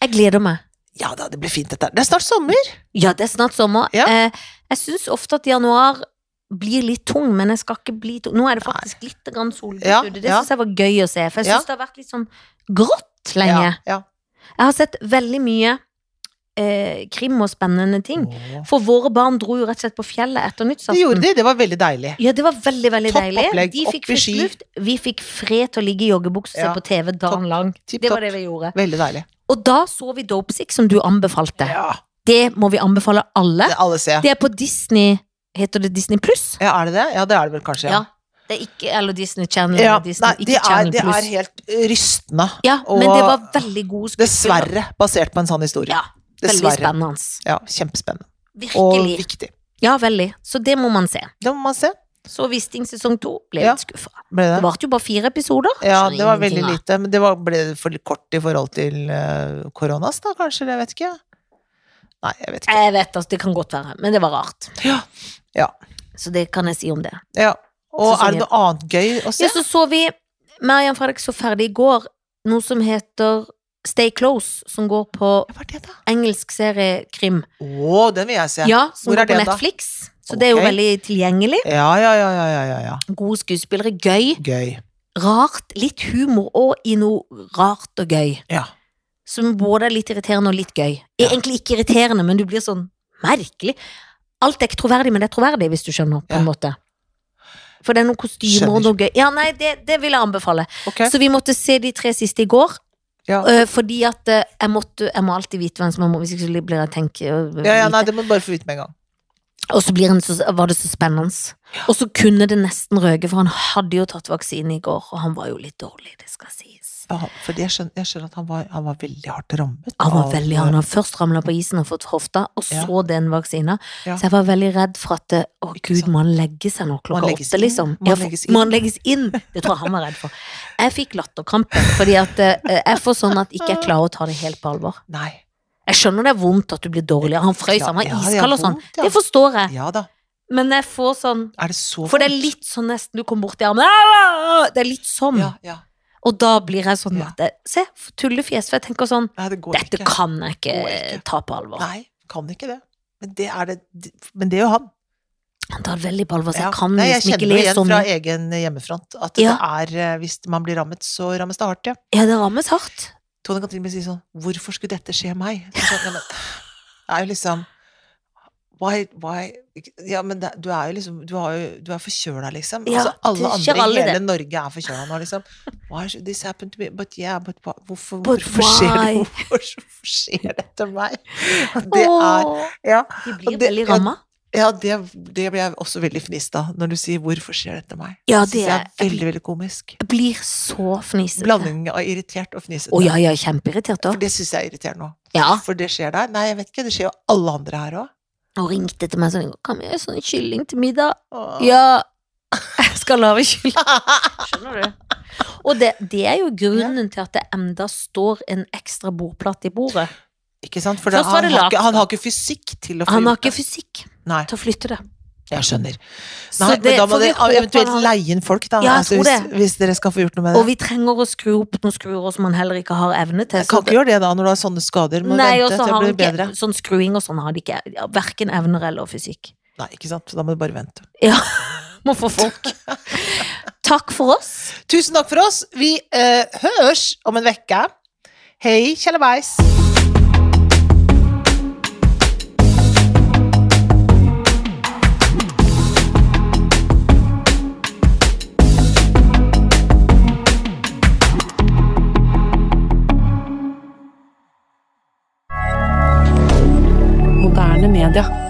B: Jeg gleder meg.
A: Ja da, det blir fint dette. her. Det er snart sommer.
B: Ja, det er snart sommer.
A: Ja.
B: Eh, jeg syns ofte at januar blir litt tung, men jeg skal ikke bli tung. Nå er det faktisk litt grann solglimt
A: Ja,
B: ute. Det
A: ja.
B: syns jeg var gøy å se, for jeg
A: Ja.
B: syns det har vært litt sånn grått lenge.
A: Ja, ja.
B: Jeg har sett veldig mye eh, krim og spennende ting.
A: Åh.
B: For våre barn dro jo rett og slett på fjellet etter
A: Det gjorde
B: nyttårsaften.
A: de, det var veldig deilig.
B: Ja, det var veldig veldig
A: Topp
B: deilig.
A: opplegg,
B: De
A: opp
B: fikk
A: i
B: frisk
A: ski.
B: luft. Vi fikk fred til å ligge i joggebukse og
A: Ja,
B: se på TV
A: topp,
B: dagen lang.
A: tipp
B: Det
A: topp.
B: var det vi gjorde.
A: Veldig deilig.
B: Og da så vi Dopesick, som du anbefalte.
A: Ja,
B: Det må vi anbefale alle.
A: det alle ser.
B: Det er på Disney Heter det Disney Pluss?
A: Ja, er det det? Ja, det er det vel kanskje.
B: Ja. Det er ikke Eller Disney Channel.
A: Ja,
B: eller Disney,
A: Nei, det
B: ikke
A: er,
B: Channel
A: det er
B: Plus.
A: helt eh, rystende.
B: Ja, men
A: og-
B: det var veldig gode skuespillere.
A: Dessverre, basert på en sann historie.
B: Ja, Veldig
A: Dessverre.
B: spennende.
A: Ja, kjempespennende. Og
B: Virkelig.
A: viktig.
B: Ja, veldig. Så det må man se.
A: Det må man se.
B: Så Wisting sesong to ble
A: Ja.
B: litt skuffa.
A: Ble det?
B: Det varte jo bare fire episoder.
A: Ja,
B: Skjønner
A: det var veldig
B: ingenting av.
A: lite. Men det var, ble det for kort i forhold til eh, koronas, da, kanskje? eller Jeg vet ikke. Nei, jeg vet ikke.
B: Jeg vet at det kan godt være, men det var rart.
A: Ja. Ja.
B: Så det kan jeg si om det.
A: Ja. Og
B: Sesongen.
A: er det noe annet gøy å se?
B: Ja, så så vi Marian Fredrik så ferdig i går noe som heter Stay Close, som går på
A: Hva er det, da?
B: engelsk serie krim.
A: Å, den vil jeg se.
B: Ja, som
A: Hvor er
B: går på
A: det da?
B: Netflix. Så det er jo
A: Ok.
B: veldig tilgjengelig.
A: Ja, ja, ja, ja, ja, ja, ja.
B: Gode skuespillere, gøy.
A: Gøy.
B: Rart, litt humor og i noe rart og gøy.
A: Ja.
B: Som både er litt irriterende og litt gøy. Egentlig ikke irriterende, men du blir sånn merkelig. Alt er ikke troverdig, men det er troverdig, hvis du skjønner, på
A: Ja.
B: en måte. For det er noen kostymer og noe gøy. Ja, nei, det, det vil jeg anbefale.
A: Ok.
B: Så vi måtte se de tre siste i går.
A: Ja.
B: øh, fordi at øh, jeg, måtte, jeg må alltid vite hvem som er mor, hvis ikke så blir jeg tenkt øh,
A: Ja, ja,
B: vite.
A: nei, det må du bare få vite med en gang.
B: Og så blir han så, var det så spennende. Og så kunne det nesten røke, for han hadde jo tatt vaksine i går, og han var jo litt dårlig, det skal sies.
A: Ja, for jeg skjønner, jeg skjønner at han var, han var veldig hardt rammet.
B: Han var
A: av-
B: veldig, han har først ramla på isen og fått hofta, og
A: Ja.
B: så den vaksina.
A: Ja.
B: Så jeg var veldig redd for at det- å
A: Ikke
B: gud,
A: sant.
B: må han legge seg nå klokka
A: han legges
B: åtte,
A: inn?
B: liksom?
A: Må han
B: Ja, for-
A: legges inn?
B: Må han legges inn? Det tror jeg han var redd for. Jeg fikk latterkrampe, fordi at eh, jeg får sånn at ikke jeg klarer å ta det helt på alvor.
A: Nei.
B: Jeg skjønner det er vondt at du blir dårlig, han frøys, han var
A: Ja, ja, det er
B: iskald og sånn.
A: vondt, ja.
B: Det forstår jeg,
A: Ja da.
B: men jeg får sånn
A: Er det så
B: For det er
A: vondt?
B: litt sånn nesten du kommer bort i armen «Au!» Det er litt sånn.
A: Ja, ja.
B: Og da blir jeg sånn
A: Ja.
B: at jeg, Se, tullefjes. For jeg tenker sånn
A: Nei, det går
B: Dette
A: ikke.
B: kan jeg ikke
A: Går ikke.
B: ta på alvor.
A: Nei, kan ikke det. Men det er det Men det er jo han.
B: Han tar det veldig på alvor, så
A: Ja.
B: jeg kan
A: Nei, jeg
B: liksom ikke
A: kjenner det
B: le
A: igjen
B: sånn.
A: fra egen eh, hjemmefront at
B: Ja.
A: det er eh, Hvis man blir rammet, så rammes det hardt, ja.
B: Ja, det rammes hardt.
A: Tone kan til og med si sånn Hvorfor skulle dette skje meg? Så Sånn, ja, men, det er jo liksom Why, why Ja, men det, du er jo liksom Du, har jo, du er forkjøla, liksom.
B: Ja,
A: altså, alle
B: det skjer
A: andre
B: alle
A: i hele
B: det.
A: Norge er forkjøla nå, liksom. Why should this happen to me? But yeah, but why- hvorfor,
B: But
A: hvorfor, skjer,
B: why?
A: det, hvorfor skjer dette meg? Det er
B: Åh,
A: Ja.
B: de
A: og
B: blir
A: det-
B: veldig
A: ja,
B: ramma.
A: Ja, det, det ble jeg også veldig fnist av, når du sier 'hvorfor skjer dette meg'?
B: Ja,
A: det
B: det
A: synes jeg er
B: jeg
A: veldig, veldig komisk.
B: blir så fnisete. Å
A: Blanding av irritert og fnisete.
B: ja, ja, kjempeirritert
A: For
B: òg.
A: det syns jeg er irriterende òg.
B: Ja.
A: For det skjer der. Nei, jeg vet ikke, det skjer jo alle andre her òg.
B: Og ringte til meg sånn Kan vi gjøre sånn kylling til middag? Ja. Jeg skal lage kylling. Skjønner du? Og det, det er jo grunnen til at det enda står en ekstra bordplate i bordet.
A: Ikke sant? For det,
B: Først var
A: han,
B: det
A: har
B: lat.
A: ikke, han har ikke fysikk til å få
B: Han har
A: gjort
B: ikke
A: det.
B: fysikk
A: Nei,
B: til å flytte det.
A: jeg skjønner.
B: Så
A: Nei,
B: det
A: men da må
B: får vi
A: dere
B: håpe
A: eventuelt
B: han-
A: leie inn folk, da. Altså,
B: Ja, jeg tror
A: hvis, hvis dere skal få gjort noe med det.
B: Og vi trenger å skru opp noen skruer som han heller ikke har evne til.
A: Jeg kan ikke gjøre det da, når du har sånne skader. Må
B: Nei, og
A: vente til
B: så har
A: det
B: han
A: blir bedre.
B: ikke sånn skruing og sånn har de ikke. Ja, Verken evner eller fysikk.
A: Nei, ikke sant. Så da må du bare vente.
B: Må få folk. Takk for oss.
A: Tusen takk for oss. Vi eh, høres om en uke. Hei, tjallabais.
D: D'accord.